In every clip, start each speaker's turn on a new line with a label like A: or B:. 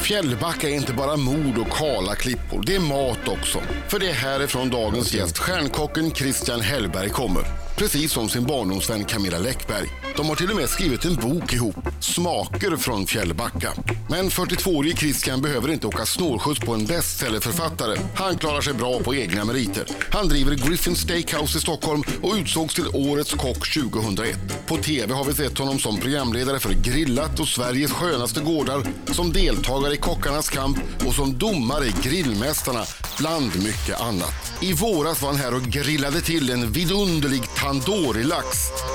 A: Fjällbacka är inte bara mord och kala klippor, det är mat också. För det är härifrån dagens gäst, stjärnkocken Christian Hellberg, kommer. Precis som sin barndomsvän Camilla Läckberg. De har till och med skrivit en bok ihop, Smaker från Fjällbacka. Men 42-årige Christian behöver inte åka snålskjuts på en bestsellerförfattare. Han klarar sig bra på egna meriter. Han driver Griffin Steakhouse i Stockholm och utsågs till Årets kock 2001. På TV har vi sett honom som programledare för Grillat och Sveriges skönaste gårdar, som deltagare i Kockarnas kamp och som domare i Grillmästarna, bland mycket annat. I våras var han här och grillade till en vidunderlig tandoori-lax.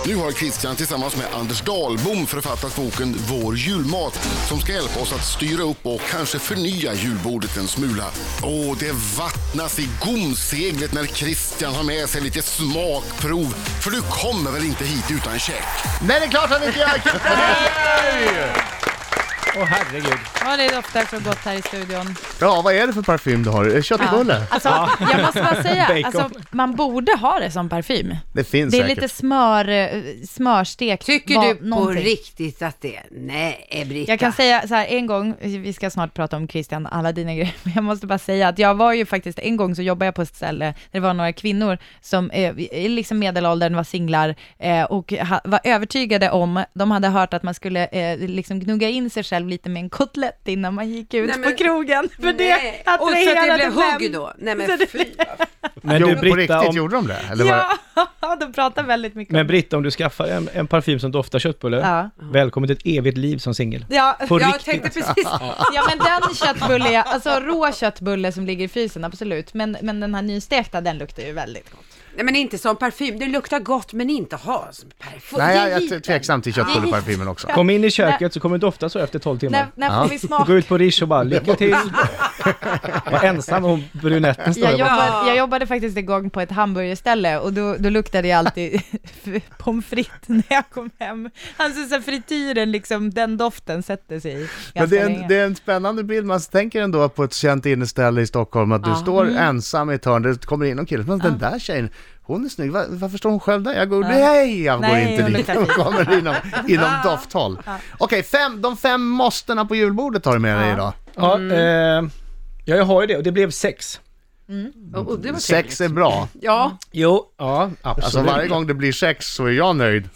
A: Nu har Christian tillsammans med Anders Dahlbom författat boken Vår julmat som ska hjälpa oss att styra upp och kanske förnya julbordet en smula. Åh, det vattnas i gomseglet när Christian har med sig lite smakprov. För du kommer väl inte hit utan check?
B: Nej, det är klart han inte gör!
C: Åh herregud.
D: Ja, det doftar så gott här i studion.
B: Ja, vad är det för parfym du har? Köttbulle?
D: Alltså, jag måste bara säga,
C: Bacon.
D: alltså, man borde ha det som parfym.
B: Det finns
D: Det är
B: säkert.
D: lite smör, eh, smörstek.
E: Tycker
D: va-
E: du på
D: någonting.
E: riktigt att det... Nej, Britta.
D: Jag kan säga så här, en gång, vi ska snart prata om Christian, alla dina grejer, men jag måste bara säga att jag var ju faktiskt, en gång så jobbade jag på ett ställe där det var några kvinnor som eh, i liksom medelåldern var singlar eh, och ha, var övertygade om, de hade hört att man skulle eh, liksom gnugga in sig själv lite med en kotlett innan man gick ut
E: Nej, men-
D: på krogen. För
E: Nej.
D: det
E: Och så att det
D: attraherade
E: blev
D: män.
E: hugg då? Nej
D: Så
E: men
D: det-
E: fy.
C: Men
B: jo,
C: du
B: på riktigt,
C: Britta, om,
B: gjorde de det? Eller var det?
D: Ja, de pratar väldigt mycket
C: men
D: om det.
C: Britta, om du skaffar en, en parfym som doftar köttbulle,
D: Ja.
C: välkommen till ett evigt liv som singel.
D: Ja,
C: På
E: Jag
C: riktigt.
E: tänkte
B: alltså.
E: precis.
D: Ja men den köttbulle, jag- alltså rå köttbulle som ligger i frysen, absolut. Men, men den här nystekta, den luktar ju väldigt gott.
E: Nej men inte som parfym. Det luktar gott men inte ha som parfym.
B: Nej,
E: Det
B: jag,
E: är
B: jag
E: lite-
B: är tveksam till köttbulleparfymen också.
C: Kom in i köket så kommer det dofta så efter 12 timmar.
D: När, när får vi smaka?
C: Gå ut på Rish och bara lycka till. Var ensam och brunetten står
D: Jag
C: där borta.
D: jobbade, jag jobbade faktiskt igång på ett hamburgerställe och då, då luktade jag alltid pommes frites när jag kom hem. Alltså så här frityren, liksom, den doften sätter sig i
B: Men det
D: ganska
B: är,
D: länge.
B: en, det är en spännande bild, man tänker ändå på ett känt inneställe i Stockholm att du står ensam i ett hörn, det kommer in någon kille, men den där tjejen, hon är snygg, Va- varför står hon själv där? Jag går, nej jag går
D: Nej,
B: inte
D: hon
B: dit,
D: luktar
B: jag
D: fint.
B: kommer inom, inom dofthåll. Okej, fem, de fem måstena på julbordet har du med dig idag.
C: Ja, eh, ja, jag har ju det och det blev sex.
E: Och- och det var
B: Sex
E: trevligt.
B: är bra,
E: Ja,
C: Jo, ja, absolut.
B: alltså varje gång det blir sex så är jag nöjd.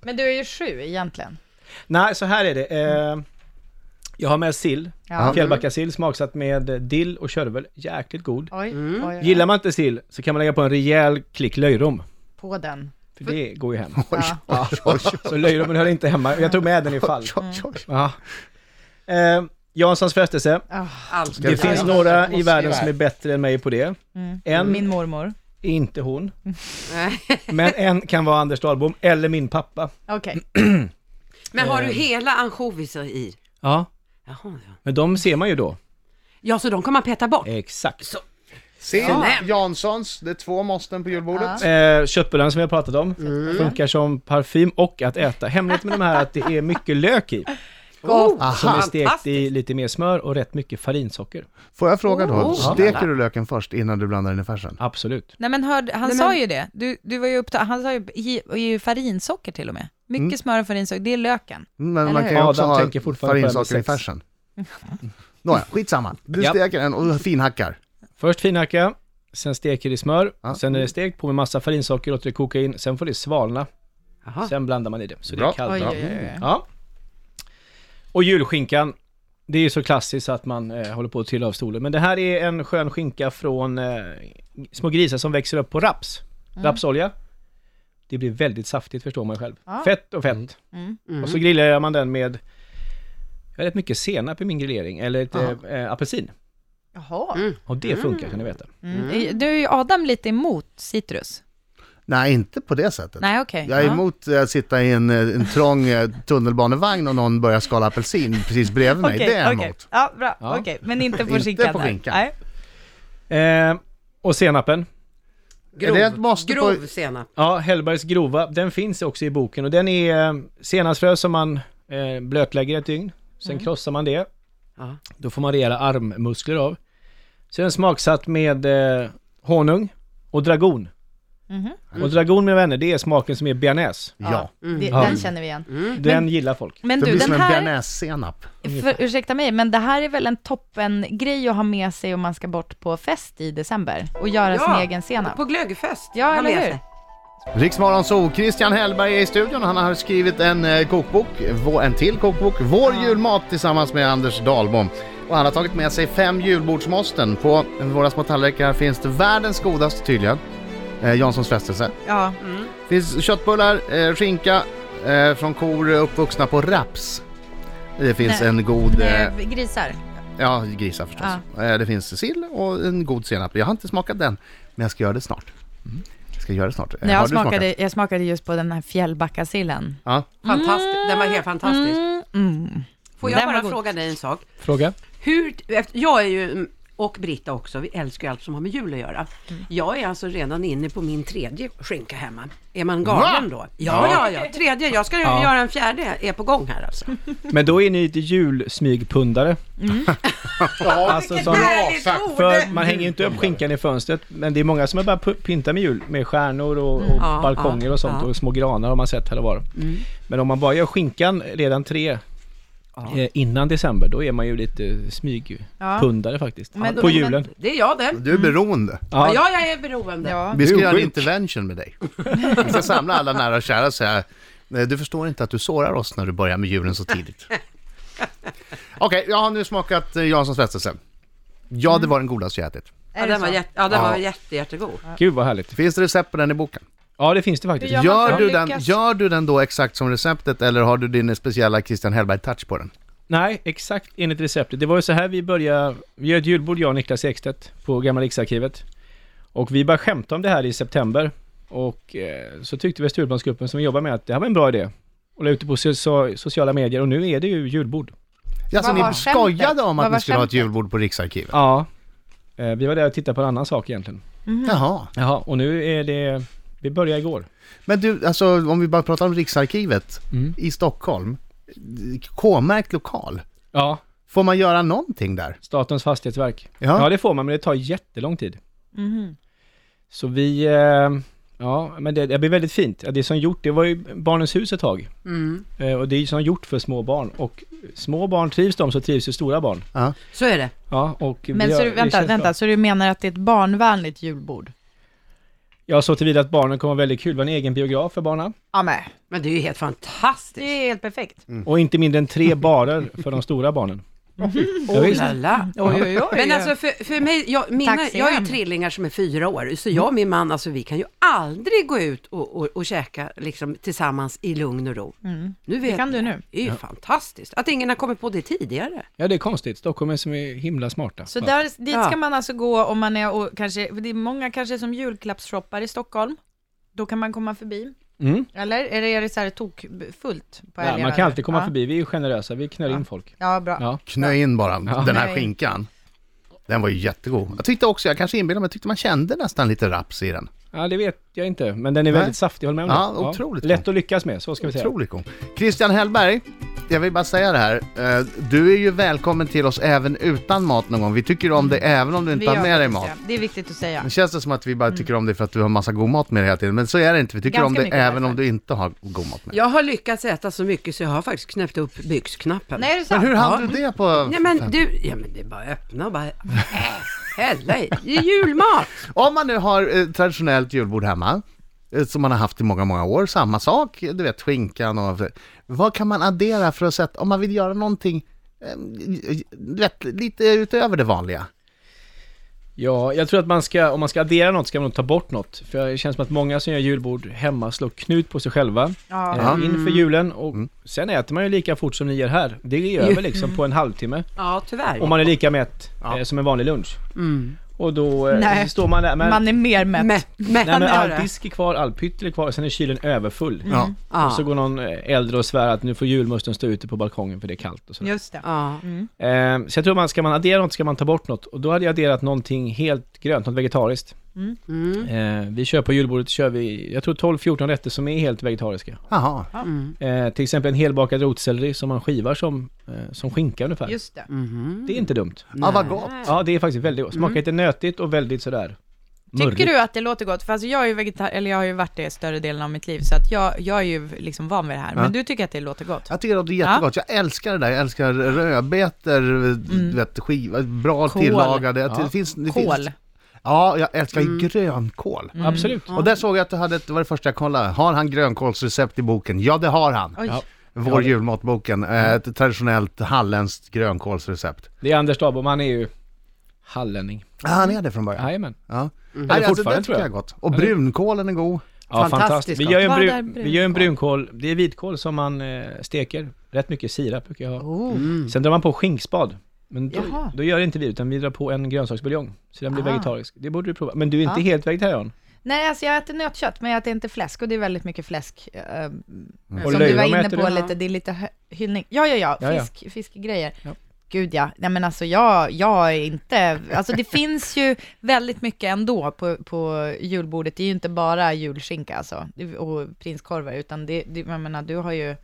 D: Men du är ju sju egentligen.
C: Nej, så här är det. Eh, jag har med sill,
D: Ja.
C: Fjällbackasill smaksatt med dill och körvel. Jäkligt god.
D: Oj,
B: Mm.
D: oj, oj,
C: Gillar man inte sill så kan man lägga på en rejäl klick löjrom.
D: På den.
C: För det går ju hem.
D: Ja.
B: Oj, oj,
C: Så löjrommen hör inte hemma. Jag tog med den ifall.
B: oj, oj.
C: Ja. Eh, Janssons frestelse.
E: allt.
C: Det finns
B: Ja.
C: några i
B: Måste
C: världen
B: vara.
C: som är bättre än mig på det. En,
D: Min mormor.
C: inte hon.
E: Mm. Nej.
C: Men en kan vara Anders Dahlbom eller min pappa.
D: Okej.
E: Men har du hela ansjoviser i?
C: Ja.
E: Jaha, ja.
C: Men de ser man ju då.
E: ja, så de kan man peta bort?
C: Exakt.
E: Så-
B: Sill,
E: Ja.
B: Janssons, det är två måsten på julbordet.
C: Eh, köttbullarna som vi har pratat om
B: Mm.
C: funkar som parfym och att äta. Hemligheten med de här är att det är mycket lök i.
E: Gott!
C: Som är stekt i
E: Fantastiskt.
C: lite mer smör och rätt mycket farinsocker.
B: Får jag fråga då,
E: Oh.
B: steker du löken först innan du blandar den i färsen?
C: Absolut.
D: Nej men hörde, han
E: Nej, men-
D: sa ju det. Du, du var ju upptagen, han sa ju, ge, ge farinsocker till och med. Mycket
B: Mm.
D: smör och farinsocker, det är löken.
B: Men man
D: hur?
B: kan ju också
C: Adam
B: ha
C: tänker fortfarande på det med
B: farinsaker i
C: sex.
B: färsen. Nåja, skitsamma. Du
C: Japp.
B: steker den och finhackar.
C: Först finhacka, sen steker i smör,
B: Ja.
C: sen är det stekt på med massa farinsocker, låter det koka in, sen får det svalna,
E: Jaha.
C: sen blandar man i det. Så det
B: Bra.
C: är kallt.
D: Oj, oj, oj.
C: Ja. Och julskinkan, det är ju så klassiskt att man eh, håller på att trilla av stolen. Men det här är en skön skinka från eh, små grisar som växer upp på raps. Rapsolja. Det blir väldigt saftigt förstår man själv.
D: Ja.
C: Fett och fett. Och så grillar man den med jag har rätt mycket senap i min grillering, eller ett, eh, eh, apelsin.
D: Jaha.
C: Och det funkar kan ni veta.
D: Mm. Du är ju Adam lite emot citrus.
B: Nej, inte på det sättet.
D: Nej okej.
B: Jag är
D: Ja.
B: emot eh, att sitta i en, eh, en trång eh, tunnelbanevagn och någon börjar skala apelsin precis bredvid mig.
D: Okej,
B: det är jag
D: okej.
B: emot.
D: Ja, bra.
C: Ja.
D: Okej, men inte på
B: Inte
D: skinkan.
B: på
D: där.
B: skinkan.
D: Nej.
C: Eh, och senapen.
B: Är det ett måste
E: grov
B: på-
E: senap.
C: Ja, Hellbergs grova. Den finns också i boken och den är eh, senapsfrö som man eh, blötlägger ett dygn. Sen krossar man det.
E: Ja.
C: Då får man rejäla armmuskler av. Så är den smaksatt med eh, honung och dragon. Och dragon mina vänner, det är smaken som är bearnaise.
D: Mm.
B: Ja.
D: Det,
C: Ja.
D: Den känner vi igen.
C: Den gillar folk.
D: Men
B: Det
D: du,
B: blir som
D: den
B: en
D: här,
B: bearnaisesenap.
D: för, ursäkta mig, men det här är väl en toppen grej att ha med sig om man ska bort på fest i december och göra sin egen senap?
E: På glöggfest.
D: Ja,
E: Ha
D: eller
E: med
D: hur?
E: sig.
B: Riksmorgon så Christian Hellberg är i studion. Han har skrivit en eh, kokbok, vå- en till kokbok, Vår julmat tillsammans med Anders Dahlbom. Och han har tagit med sig fem julbordsmåsten. På våra små tallrikar finns det världens godaste tydligen, eh, Janssons frestelse.
D: Ja.
B: finns köttbullar, eh, skinka eh, från kor uppvuxna på raps. Det finns
D: Nej.
B: en god, eh,
D: Eh, Grisar.
B: ja grisar förstås. Eh, det finns sill och en god senap. Jag har inte smakat den, men jag ska göra det snart. Mm. Jag ska göra det snart. Eh,
D: Nej,
B: har
D: Jag
B: du smakat?
D: smakade, jag smakade just på den här fjällbackasillen.
B: Ja.
E: Fantastisk. Den var helt fantastisk. Får jag
D: Mm. Den var
E: bara
D: god.
E: fråga dig en sak?
C: Fråga?
E: Hur, efter- jag är ju, och Britta också, vi älskar ju allt som har med jul att göra. Jag är alltså redan inne på min tredje skinka hemma. Är man galen då? Ja, ja, ja. Tredje, jag ska
C: Ja.
E: göra en fjärde, är på gång här alltså.
C: Men då är ni ett julsmygpundare.
A: Ja,
C: Alltså som,
E: Härligt
A: exakt.
E: ord!
C: för man hänger ju inte upp skinkan i fönstret, men det är många som är bara pu- pyntar med jul, med stjärnor och, och
E: Mm. Ja,
C: balkonger
E: ja,
C: och sånt
E: ja. Mm.
C: och små granar har man sett här och var. Men om man bara gör skinkan redan tre eh, innan december, då är man ju lite smygpundare faktiskt.
D: Men-
C: på
D: men-
C: julen.
E: Det är jag det.
B: Du är beroende.
E: Ja,
C: ja,
E: jag är beroende.
D: Ja.
B: Vi ska
A: Du är
B: göra en
A: sjuk.
B: intervention med dig. Vi ska samla alla nära och kära och säga, "Nej, du förstår inte att du sårar oss när du börjar med julen så tidigt. Okej, jag har nu smakat eh, Janssons frestelse. Ja,
D: Mm.
B: det var den godaste jag ätit.
E: Ja,
D: Är det
E: den var,
D: så?
E: jätte, ja, den
B: Ja.
E: var jätte, jättegod.
C: gud vad härligt.
B: Finns det recept på den i boken?
C: Ja, det finns det faktiskt.
D: Hur gör man
B: Gör
D: för att
B: du, den,
D: lyckas?
B: gör du den då exakt som receptet eller har du din speciella Christian Hellberg-touch på den?
C: Nej, exakt enligt receptet. Det var ju så här vi började, vi gör ett julbord jag och Niklas Ekstedt på Gamla Riksarkivet. Och vi började skämta om det här i september. Och eh, så tyckte vi i Stureplansgruppen som vi jobbar med att det här var en bra idé. Och la ut det på so- so- sociala medier och nu är det ju julbord.
B: Ja, så
D: Vad var
B: ni
D: skämtet?
B: skojade om
D: Vad
B: att
D: var
B: ni skulle ha ett
D: skämtet?
B: julbord på Riksarkivet?
C: Ja. Eh, vi var där och tittade på en annan sak egentligen.
D: Mm.
B: Jaha.
C: Jaha, och nu är det, vi började igår.
B: Men du, alltså om vi bara pratar om Riksarkivet i Stockholm. eh, K-märkt lokal.
C: Ja,
B: Får man göra någonting där?
C: Statens fastighetsverk.
B: Ja.
C: Ja. det får man, men det tar jättelång tid.
D: Mhm.
C: Så vi... eh, Ja, men det, det blir väldigt fint. Ja, Det som gjort, det var ju Barnens hus ett tag. Eh, Och det är ju som gjort för små barn. Och små barn trivs de så trivs ju stora barn.
B: Ja.
E: Så är det.
C: Ja, och vi
D: Men så,
C: har-
D: du-
C: det
D: vänta,
C: känns bra.
D: vänta, så du menar att det är ett barnvänligt julbord?
C: Ja, så tillvida att barnen kommer ha väldigt kul. Vi har en egen biograf för barnen.
D: Ja, men
E: Men det är ju helt
D: det
E: fantastiskt.
D: är helt perfekt.
C: Och inte mindre än tre barer för de stora barnen. Ja, visst.
E: Lala.
D: Oj, oj, oj.
E: Men alltså för, för mig, jag, mina,
D: Taxi
E: jag har
D: hem.
E: ju trillingar som är fyra år, så jag och min man, alltså vi kan ju aldrig gå ut och, och, och käka liksom, tillsammans i lugn och ro.
D: Mm.
E: Nu vet
D: kan
E: ni
D: du nu.
E: Det är ju fantastiskt att ingen har kommit på det tidigare.
C: Ja, det är konstigt. Stockholm är som är himla smarta.
D: Så där, dit
E: Ja.
D: ska man alltså gå om man är och kanske, för det är många kanske som julklappsshoppar i Stockholm. Då kan man komma förbi.
C: Mm.
D: Eller eller är det så här tokfullt på
C: Ja,
D: helgerna?
C: man kan alltid komma
D: ja.
C: förbi. Vi är ju generösa. Vi knör in folk.
D: Ja, bra.
C: Ja.
B: Knö in bara den här
D: Nej.
B: skinkan. Den var ju jättegod. Jag tyckte också, jag kanske inbillar mig, jag tyckte man kände nästan lite raps i den.
C: Ja, det vet jag inte. Men den är
B: Nej.
C: väldigt saftig, håller med om
B: Ja,
C: det.
B: otroligt
C: Lätt
B: gott.
C: att lyckas med, så ska vi säga.
B: Otroligt god. Christian Hellberg, jag vill bara säga det här. Eh, Du är ju välkommen till oss även utan mat någon gång. Vi tycker om dig även om du inte
D: Vi
B: har med
D: gör
B: dig
D: faktiskt
B: mat.
D: Det. det är viktigt att säga.
B: Det känns det som att vi bara tycker om dig för att du har massa god mat med dig hela tiden. Men så är det inte. Vi tycker
D: Ganska
B: om dig
D: mycket
B: även
D: därför.
B: om du inte har god mat med dig.
E: Jag har lyckats äta så mycket så jag har faktiskt knäppt upp byxknappen.
D: Nej, är det sant?
B: Men hur hann
E: Ja.
B: du det på...
E: Nej men du, ja men det är bara att öppna och bara, äh, hälla i. Det är julmat!
B: Om man nu har eh, traditionellt julbord hemma, eh, som man har haft i många, många år, samma sak, du vet skinkan och... Vad kan man addera för att sätta, om man vill göra någonting, eh, du vet, lite utöver det vanliga?
C: Ja, jag tror att man ska, om man ska addera något ska man nog ta bort något. För det känns som att många som gör julbord hemma slår knut på sig själva
D: Ja.
C: eh,
B: Mm.
C: inför julen. Och sen äter man ju lika fort som ni gör här. Det är över liksom på en halvtimme.
E: Ja tyvärr. Mm.
C: Om man är lika mätt eh, som en vanlig lunch. Och då eh,
D: Nej.
C: står man där. Men,
D: Man är mer mätt.
E: Mätt, mätt
C: nej, men
E: är
C: all
E: det.
C: disk är kvar, all pyttel är kvar, sen är kylen överfull.
B: Ja.
E: Ja.
C: Och så går någon eh, äldre och svär att nu får julmusten stå ute på balkongen för det är kallt och sådär.
D: Just det.
E: Ja.
C: Eh, så jag tror man, ska man addera något ska man ta bort något. Och då hade jag adderat någonting helt grönt, något vegetariskt.
E: Mm.
D: Mm.
C: Eh, vi kör på julbordet, kör vi, jag tror 12-14 rätter som är helt vegetariska.
B: Jaha.
D: Mm.
C: Eh, till exempel en helbakad rotselleri som man skivar som, eh, som skinka ungefär.
D: Just det.
E: Mm-hmm.
D: Mm.
C: Det är inte dumt.
B: Ja, vad gott.
C: Ja, det är faktiskt väldigt gott. Smakar lite nötigt och väldigt sådär
D: Tycker du att det låter gott? För alltså jag, är ju vegetar- eller jag har ju varit det större delen av mitt liv, så att jag, jag är ju liksom van vid det här. Men du tycker att det låter gott?
B: Jag tycker det låter jättegott. Jag älskar det där. Jag älskar rödbetor, du vet, skiva, bra
D: Kål.
B: tillagade.
C: Ja.
B: Det finns, det
D: Kål.
B: Finns, ja, jag älskar grönkål.
C: Absolut.
B: Och där såg jag att du hade, ett- det var det första jag kollade, har han grönkålsrecept i boken? Ja, det har han.
D: Oj.
B: Vår julmatboken, eh, ett traditionellt halländskt grönkålsrecept.
C: Det är Anders Dahlbom, han är ju hallänning.
B: Ja, han är det från början.
C: Jajamän.
B: Ja.
C: Mm.
B: Nej, alltså, det
C: fortfarande
B: tycker jag är
C: jag.
B: gott. Och brunkålen är god.
C: Ja, fantastiskt.
E: Fantastiskt
C: Vi gör ju en,
D: gott.
C: bru-
D: Vad är brunkål?
C: vi gör en brunkål, det är vitkål som man eh, steker. Rätt mycket sirap brukar jag ha. Sen drar man på skinkspad. Men då,
D: Mm. Jaha.
C: då gör inte vi utan vi drar på en grönsaksbuljong. Så den blir
D: Ah.
C: vegetarisk. Det borde du prova. Men du är inte
D: Ja.
C: helt vegetarian.
D: Nej, alltså jag äter nötkött, men jag äter inte fläsk och det är väldigt mycket fläsk. eh,
C: Mm. Och
D: Som du
C: löjrom
D: var inne
C: äter
D: på
C: du?
D: lite, det är lite hö- hyllning. Ja, ja,
C: Ja,
D: ja,
C: ja.
D: fisk, fiskgrejer.
C: Ja.
D: Gud ja, nej men alltså jag, jag är inte, alltså det finns ju väldigt mycket ändå på, på julbordet. Det är ju inte bara julskinka alltså, och prinskorvar, utan det, det jag menar, du har ju,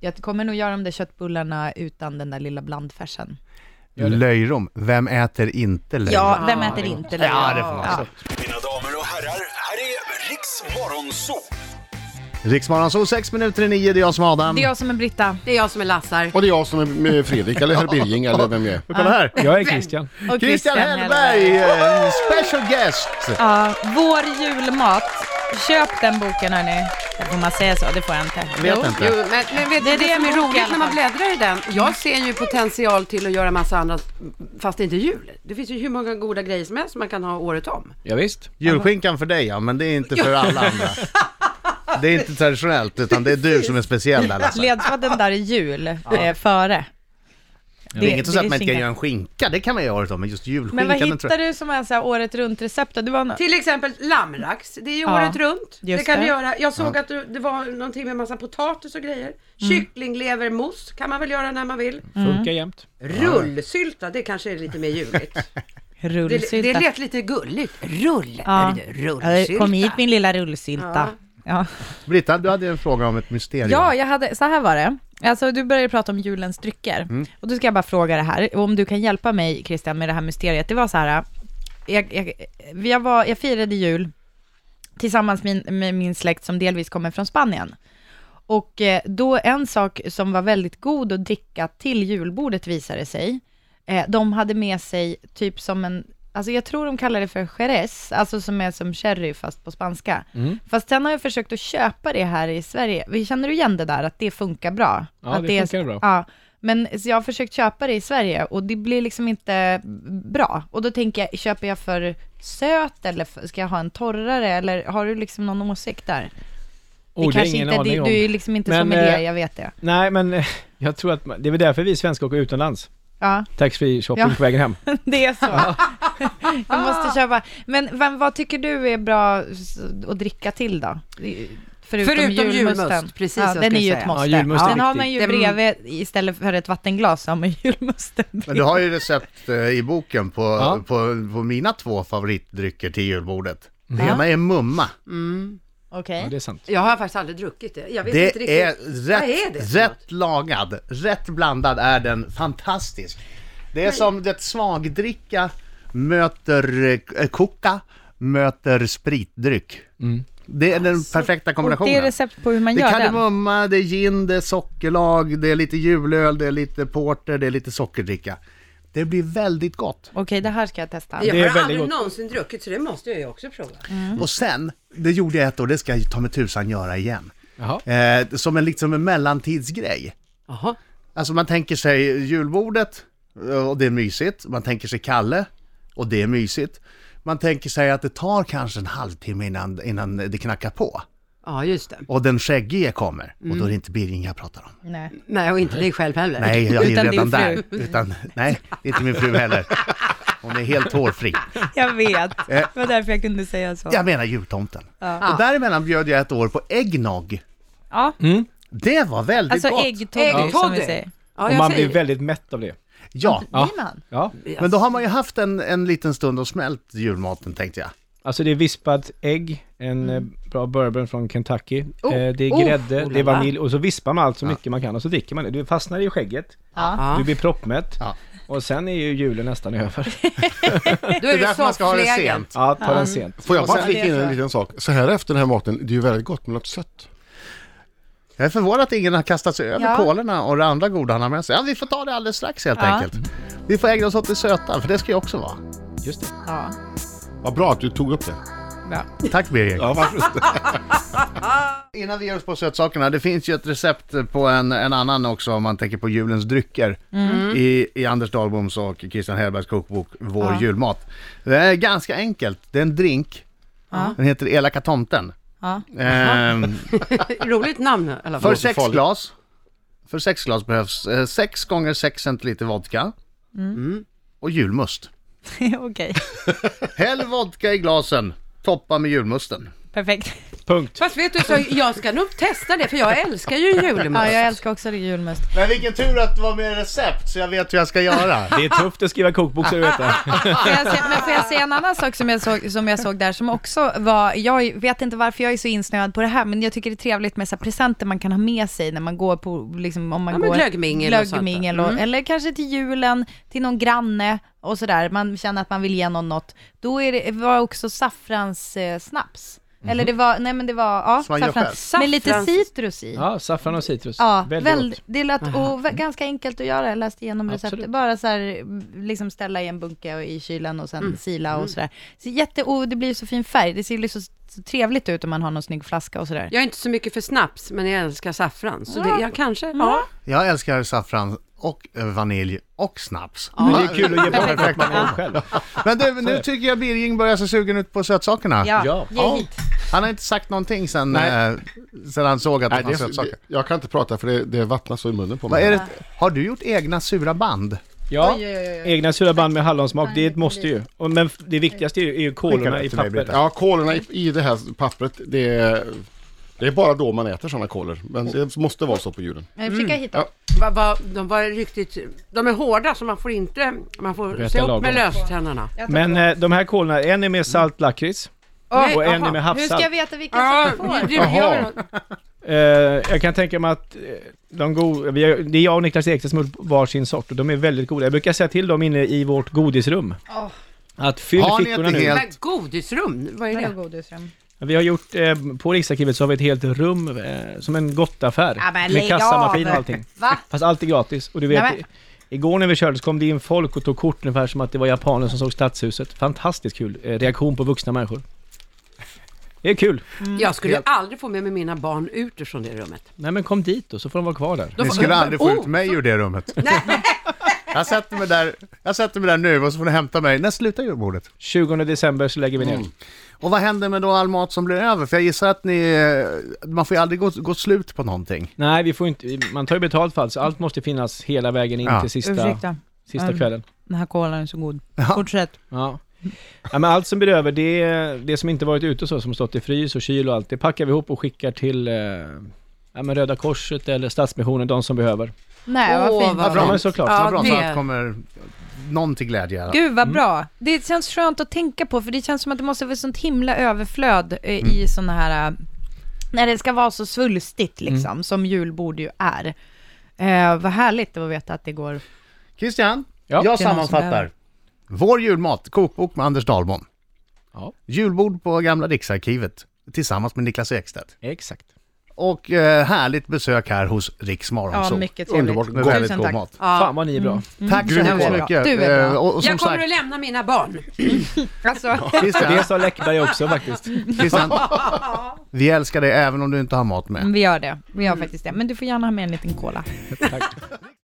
D: jag kommer nog göra de där köttbullarna utan den där lilla blandfärsen.
C: Gör det.
B: Löjrom, vem äter inte löjrom?
D: Ja, vem
E: Ja,
D: äter
E: det är
D: inte löjrom?
B: Ja, det får man säga.
F: Mina damer och herrar, här är Riks Morgonzoo!
B: Riksmorgon, så sex minuter i nio, det är jag som är Adam.
D: Det är jag som är Britta.
E: Det är jag som är Lassar.
A: Och det är jag som är med Fredrik, eller herr Birging, eller vem jag är.
B: Och kolla här!
C: Jag är Christian.
D: Och
B: Christian Hellberg, eh, special guest!
D: Ja, Vår julmat. Köp den boken hörni. Får man säga så? Det får jag inte.
B: Jag vet
E: Jo,
B: inte.
E: men, men vet
D: Det
E: det,
D: är
E: är
D: det
E: det som
D: en
E: är
D: bok i
E: roligt
D: alla
E: när man
D: fall. Mm.
E: bläddrar i den. Jag ser ju potential till att göra massa andra, fast det är inte jul. Det finns ju hur många goda grejer som helst som man kan ha året om.
C: Ja, visst.
B: Julskinkan för dig ja, men det är inte för alla andra. Det är inte traditionellt, utan det är du som är speciell där Lasse.
D: Ledtråden där är jul, eh, före.
B: Det är inget som säger att man inte kan
D: skinka.
B: göra en skinka, det kan man göra året om, men just
D: Men vad
B: julskinkan den tror
D: hittar
B: jag...
D: du som är så här året runt-recept? Det var nå-
E: Till exempel lammrax, det är ju
D: Ja,
E: året runt. Det
D: just
E: kan du
D: det.
E: göra. Jag såg att du, det var någonting med massa potatis och grejer.
D: Mm.
E: Kycklinglevermos kan man väl göra när man vill.
C: Funkar jämt.
E: Rullsylta, det kanske är lite mer juligt. det,
D: rullsylta.
E: det lät lite gulligt. Rull,
D: Ja.
E: hörde du, rullsylta.
D: Ja, Kom hit min lilla rullsylta. Ja.
B: Britta, du hade en fråga om ett mysterium.
D: Ja, jag hade, så här var det. Alltså, du började prata om julens drycker. Och då ska jag bara fråga det här, och om du kan hjälpa mig Christian med det här mysteriet. Det var så här, jag, jag, jag, var, jag firade jul tillsammans med min, med min släkt som delvis kommer från Spanien. Och eh, då en sak som var väldigt god att dricka till julbordet visade sig, eh, de hade med sig typ som en, alltså jag tror de kallar det för jerez, alltså som är som sherry fast på spanska.
C: Mm.
D: Fast sen har jag försökt att köpa det här i Sverige. Känner du igen det där att det funkar bra?
C: Ja,
D: att
C: det
D: är-
C: funkar bra.
D: Ja, men så jag har försökt köpa det i Sverige och det blir liksom inte bra. Och då tänker jag, köper jag för söt eller f- ska jag ha en torrare eller har du liksom någon åsikt där?
C: Oh, det är
D: kanske
C: ingen
D: inte,
C: aning
D: det,
C: om.
D: du är ju liksom inte
C: Men,
D: sommelier,
C: eh,
D: jag vet det.
C: Nej, men eh, jag tror att man, det är väl därför vi svenskar åker utomlands.
D: Ja,
C: Taxfree shopping
D: Ja.
C: på vägen hem.
D: det är så. jag måste köpa. Men vem, vad tycker du är bra s- att dricka till då? Förutom,
E: Förutom julmust,
D: julmusten.
E: precis
D: ja,
E: jag
D: den
E: skulle
D: är ju
E: säga.
D: ett måste.
C: Ja, julmust är
D: den har
C: viktig.
D: man ju
E: Det-
D: bredvid istället för ett vattenglas, så har man julmusten
B: Men du har ju recept eh, i boken på,
C: Ja.
B: på, på mina två favoritdrycker till julbordet. Det ena är mumma.
D: Okej.
C: Ja, det är sant.
E: Jag har faktiskt aldrig druckit det. Jag vet inte riktigt.
B: Det är
E: Vad
B: rätt,
E: är det för något?
B: rätt lagad, rätt blandad är den fantastisk. Det är som det svagdricka möter eh, koka, möter spritdryck. Det är den perfekta
D: Och
B: kombinationen.
D: det är recept på hur man
B: Det
D: gör
B: är
D: den.
B: kardemumma, det är gin, det är sockerlag, det är lite julöl, det är lite porter, det är lite sockerdricka. Det blir väldigt gott.
D: Okej, det här ska jag testa.
E: Jag
C: Det är
E: har aldrig
C: väldigt gott.
E: någonsin druckit så det måste jag ju också prova.
B: Och sen, det gjorde jag ett år, det ska jag ta med tusan göra igen.
C: Jaha.
B: Eh, som en, liksom en mellantidsgrej.
E: Jaha.
B: Alltså man tänker sig julbordet eh, och det är mysigt. Man tänker sig Kalle och det är mysigt. Man tänker sig att det tar kanske en halvtimme innan, innan det knackar på.
E: Ja, just det.
B: Och den skäggige kommer. Och då är det inte Birging jag pratar om.
D: Nej.
E: Nej, och inte dig själv heller.
B: Nej, jag är
D: Utan
B: redan
D: din fru.
B: där. Utan, nej, det är inte min fru heller. Hon är helt hårfri.
D: Jag vet. Det var därför jag kunde säga så.
B: Jag menar jultomten. Och däremellan bjöd jag ett år på äggnog.
D: Ja.
B: Det var väldigt
D: Alltså
B: gott.
D: äggtoddy som vi
E: Äggtoddy.
D: säger.
E: Ja,
C: Och
E: jag
C: man
E: säger
C: blir väldigt mätt av det.
B: Ja,
C: Ja.
D: Blir man?
C: Ja.
B: men då har man ju haft en, en liten stund och smält julmaten tänkte jag.
C: Alltså det är vispat ägg, en
D: Mm.
C: eh, bra bourbon från Kentucky. eh, det är
E: oh,
C: grädde,
E: oh la
C: det är
E: la.
C: vanilj och så vispar man allt så mycket man kan och så dricker man det. Du fastnar i skägget,
D: Ja.
E: Ja.
C: du blir proppmätt.
B: Ja.
C: Och sen är ju julen nästan över.
E: Då
B: därför
E: är det
B: man ska ha det
E: sofflägen.
B: sent.
C: Ja, ta den sent.
A: Får jag
D: Och
A: bara
D: sen-
A: flika in
D: det
A: en
D: tror jag.
A: liten sak? Så här efter den här maten, det är ju väldigt gott med något sött.
B: Jag är förvånad att ingen har kastat sig över
D: Ja.
B: kolorna och det andra goda han har med sig. Ja, vi får ta det alldeles strax helt
D: Ja.
B: enkelt. Vi får ägna oss åt det söta, för det ska ju också vara.
C: Just det.
D: Ja,
A: Vad bra att du tog upp det.
D: bra.
B: Tack Birger.
A: Ja, varför
B: Innan vi ger oss på sötsakerna, det finns ju ett recept på en, en annan också om man tänker på julens drycker
D: Mm.
B: i, i Anders Dahlboms och Christian Hellbergs kokbok Vår
D: Ja.
B: julmat. Det är ganska enkelt, det är en drink. Den heter Elaka tomten.
D: Ja.
B: Ehm,
E: Roligt namn i alla
B: för
E: fall.
A: Först-
B: sex
A: farligt.
B: glas För sex glas behövs eh, sex gånger sex centiliter vodka
D: Mm.
B: och julmust.
D: Okej,
B: Häll vodka i glasen, toppa med julmusten.
D: perfekt.
C: Punkt.
E: Fast vet du, så jag ska nog testa det för jag älskar ju julmust.
D: Ja, jag älskar också julmust.
B: Men vilken tur att det var med recept så jag vet hur jag ska göra.
C: Det är tufft att skriva kokbok så du vet det.
D: Får jag se, men får jag säga en annan sak som jag, såg, som jag såg där som också var, jag vet inte varför jag är så insnöad på det här, men jag tycker det är trevligt med så här presenter man kan ha med sig när man går på, liksom, om man
E: Ja, men
D: går...
E: glöggmingel och sånt där. Mm.
D: glöggmingel och, Eller kanske till julen, till någon granne och sådär, man känner att man vill ge någon något. Då är det, var också saffrans eh, snaps. Eller det var, nej men det var, ja,
B: Som man gör
D: saffrans.
E: själv.
D: Med lite
E: Mhm. Saffrans.
D: citrus i.
C: Ja, saffran och citrus.
D: Ja,
C: väldigt
D: väl,
C: gott.
D: det lät och, vä- ganska enkelt att göra. Jag läste igenom receptet.
C: Absolut.
D: Bara så här, liksom ställa i en bunke och i kylen och sen
C: Mm.
D: sila och sådär. Så jätte, och det blir så fin färg. Det ser liksom så trevligt ut om man har någon snygg flaska och sådär.
E: Jag är inte så mycket för snaps, men jag älskar saffran. Så det, jag kanske, ja. Mm.
B: Jag älskar saffran och eh, vanilj och snaps.
C: Men det är kul att ge bort att man är själv.
B: Men du, nu tycker jag Birging börjar se sugen ut på sötsakerna.
C: Ja.
D: ge hit.
B: Han har inte sagt någonting sen,
C: Nej.
B: eh, sen han såg att det
A: Nej,
B: fanns
A: det
B: sötsaker.
A: är, jag kan inte prata för det, det vattnas så i munnen på
B: Vad
A: mig.
B: är det, har du gjort egna sura band?
C: Ja,
D: Oj, oj, oj, oj.
C: egna sura band med hallonsmak, det är ett måste ju. Och, men f- det viktigaste är ju, är ju
B: Skicka
C: kolorna
B: det
C: i
B: till mig,
C: papper.
B: Britta.
A: Ja, kolorna i, i det här pappret, det är, det är bara då man äter sådana kolor. Men det måste vara så på julen.
C: Mm.
D: Jag fick hit
A: Ja.
E: Va, va, de var riktigt, de är hårda så man får inte, man får
C: Rätta
E: se upp
C: lagom.
E: med löständerna.
C: Men eh, de här kolorna, en är med salt lakrits
E: Nej,
C: och en
E: aha.
C: är med
D: Hur ska
C: havssalt. Mm.
D: jag veta vilken
E: Ja,
D: som jag
E: det-
D: får?
E: det gör
A: Jaha.
E: något.
C: Eh, jag kan tänka mig att eh, de go- vi har- det är jag och Niklas Ekstedt som har gjort varsin sort och de är väldigt goda. Jag brukar säga till dem inne i vårt godisrum.
D: Åh.
C: Att fyll
B: Har ni
C: fickorna
B: inte
C: nu.
B: helt-
E: Men godisrum, vad är
D: Vadå
E: det?
D: godisrum?
C: Vi har gjort, eh, på Riksarkivet så har vi ett helt rum eh, som en gottaffär.
D: Ja, men
C: med
D: lägg
C: kassamaskin och
D: av.
C: allting.
D: Va?
C: Fast allt är gratis. Och du vet,
D: Nej, men-
C: igår när vi körde så kom det in folk och tog kort ungefär som att det var japaner som såg stadshuset. Fantastiskt kul eh, reaktion på vuxna människor. Det är kul.
E: Jag skulle ju aldrig få med mig mina barn ut ur från det rummet.
C: Nej men kom dit då så får de vara kvar där.
E: De
B: Ni
E: får-
B: skulle aldrig få
E: Oh,
B: ut mig ur det rummet. Jag sätter mig där, jag sätter mig där nu och så får ni hämta mig när slutar julbordet.
C: 20 december så lägger vi ner.
B: Och vad händer med då all mat som blir över? För jag gissar att ni, eh, man får ju aldrig gå, gå slut på någonting.
C: Nej vi får inte, man tar ju betalt för allt så allt måste finnas hela vägen in
B: Ja.
C: till sista,
D: Ursäkta,
C: sista
D: Mm.
C: kvällen.
D: den här kolan är så god. Fortsätt.
C: Ja. ja men allt som blir över, det, är- det som inte varit ute och så, som stått i frys och kyl och allt, det packar vi ihop och skickar till eh, ja, men Röda Korset eller Stadsmissionen, de som behöver.
D: Nej, vad
E: Åh,
D: fint.
E: vad-
C: Ja men såklart.
E: Ja,
B: Vad bra, så
E: det-
B: att det kommer någon till glädje. i alla fall.
D: Gud vad bra. Det känns skönt att tänka på för det känns som att det måste vara ett sånt himla överflöd eh, i såna här, eh, när det ska vara så svulstigt liksom, som julbord ju är. Eh, vad härligt det var att veta att det går.
B: Christian,
C: Ja.
B: jag
D: Det är någon som
B: sammanfattar.
D: behöver.
B: Vår julmat, kokbok med Anders Dahlbom.
C: Ja.
B: Julbord på gamla Riksarkivet tillsammans med Niklas Ekstedt.
C: Exakt.
B: Och eh, härligt besök här hos Riks
D: Ja,
B: Morgonzoo.
D: mycket trevligt.
B: Underbart, med väldigt
D: Tusen
B: god
D: tack.
B: mat.
C: Fan vad ni är bra.
B: Tack så
A: Du är
B: hemskt
A: bra.
B: mycket.
D: Du är bra.
B: Eh, Och, och som
E: Jag kommer
B: sagt,
E: att lämna mina barn.
D: Alltså,
B: Christian,
C: Det sa Läckberg också faktiskt.
B: Christian, vi älskar dig även om du inte har mat med.
D: vi gör det. Vi gör faktiskt det. Men du får gärna ha med en liten cola.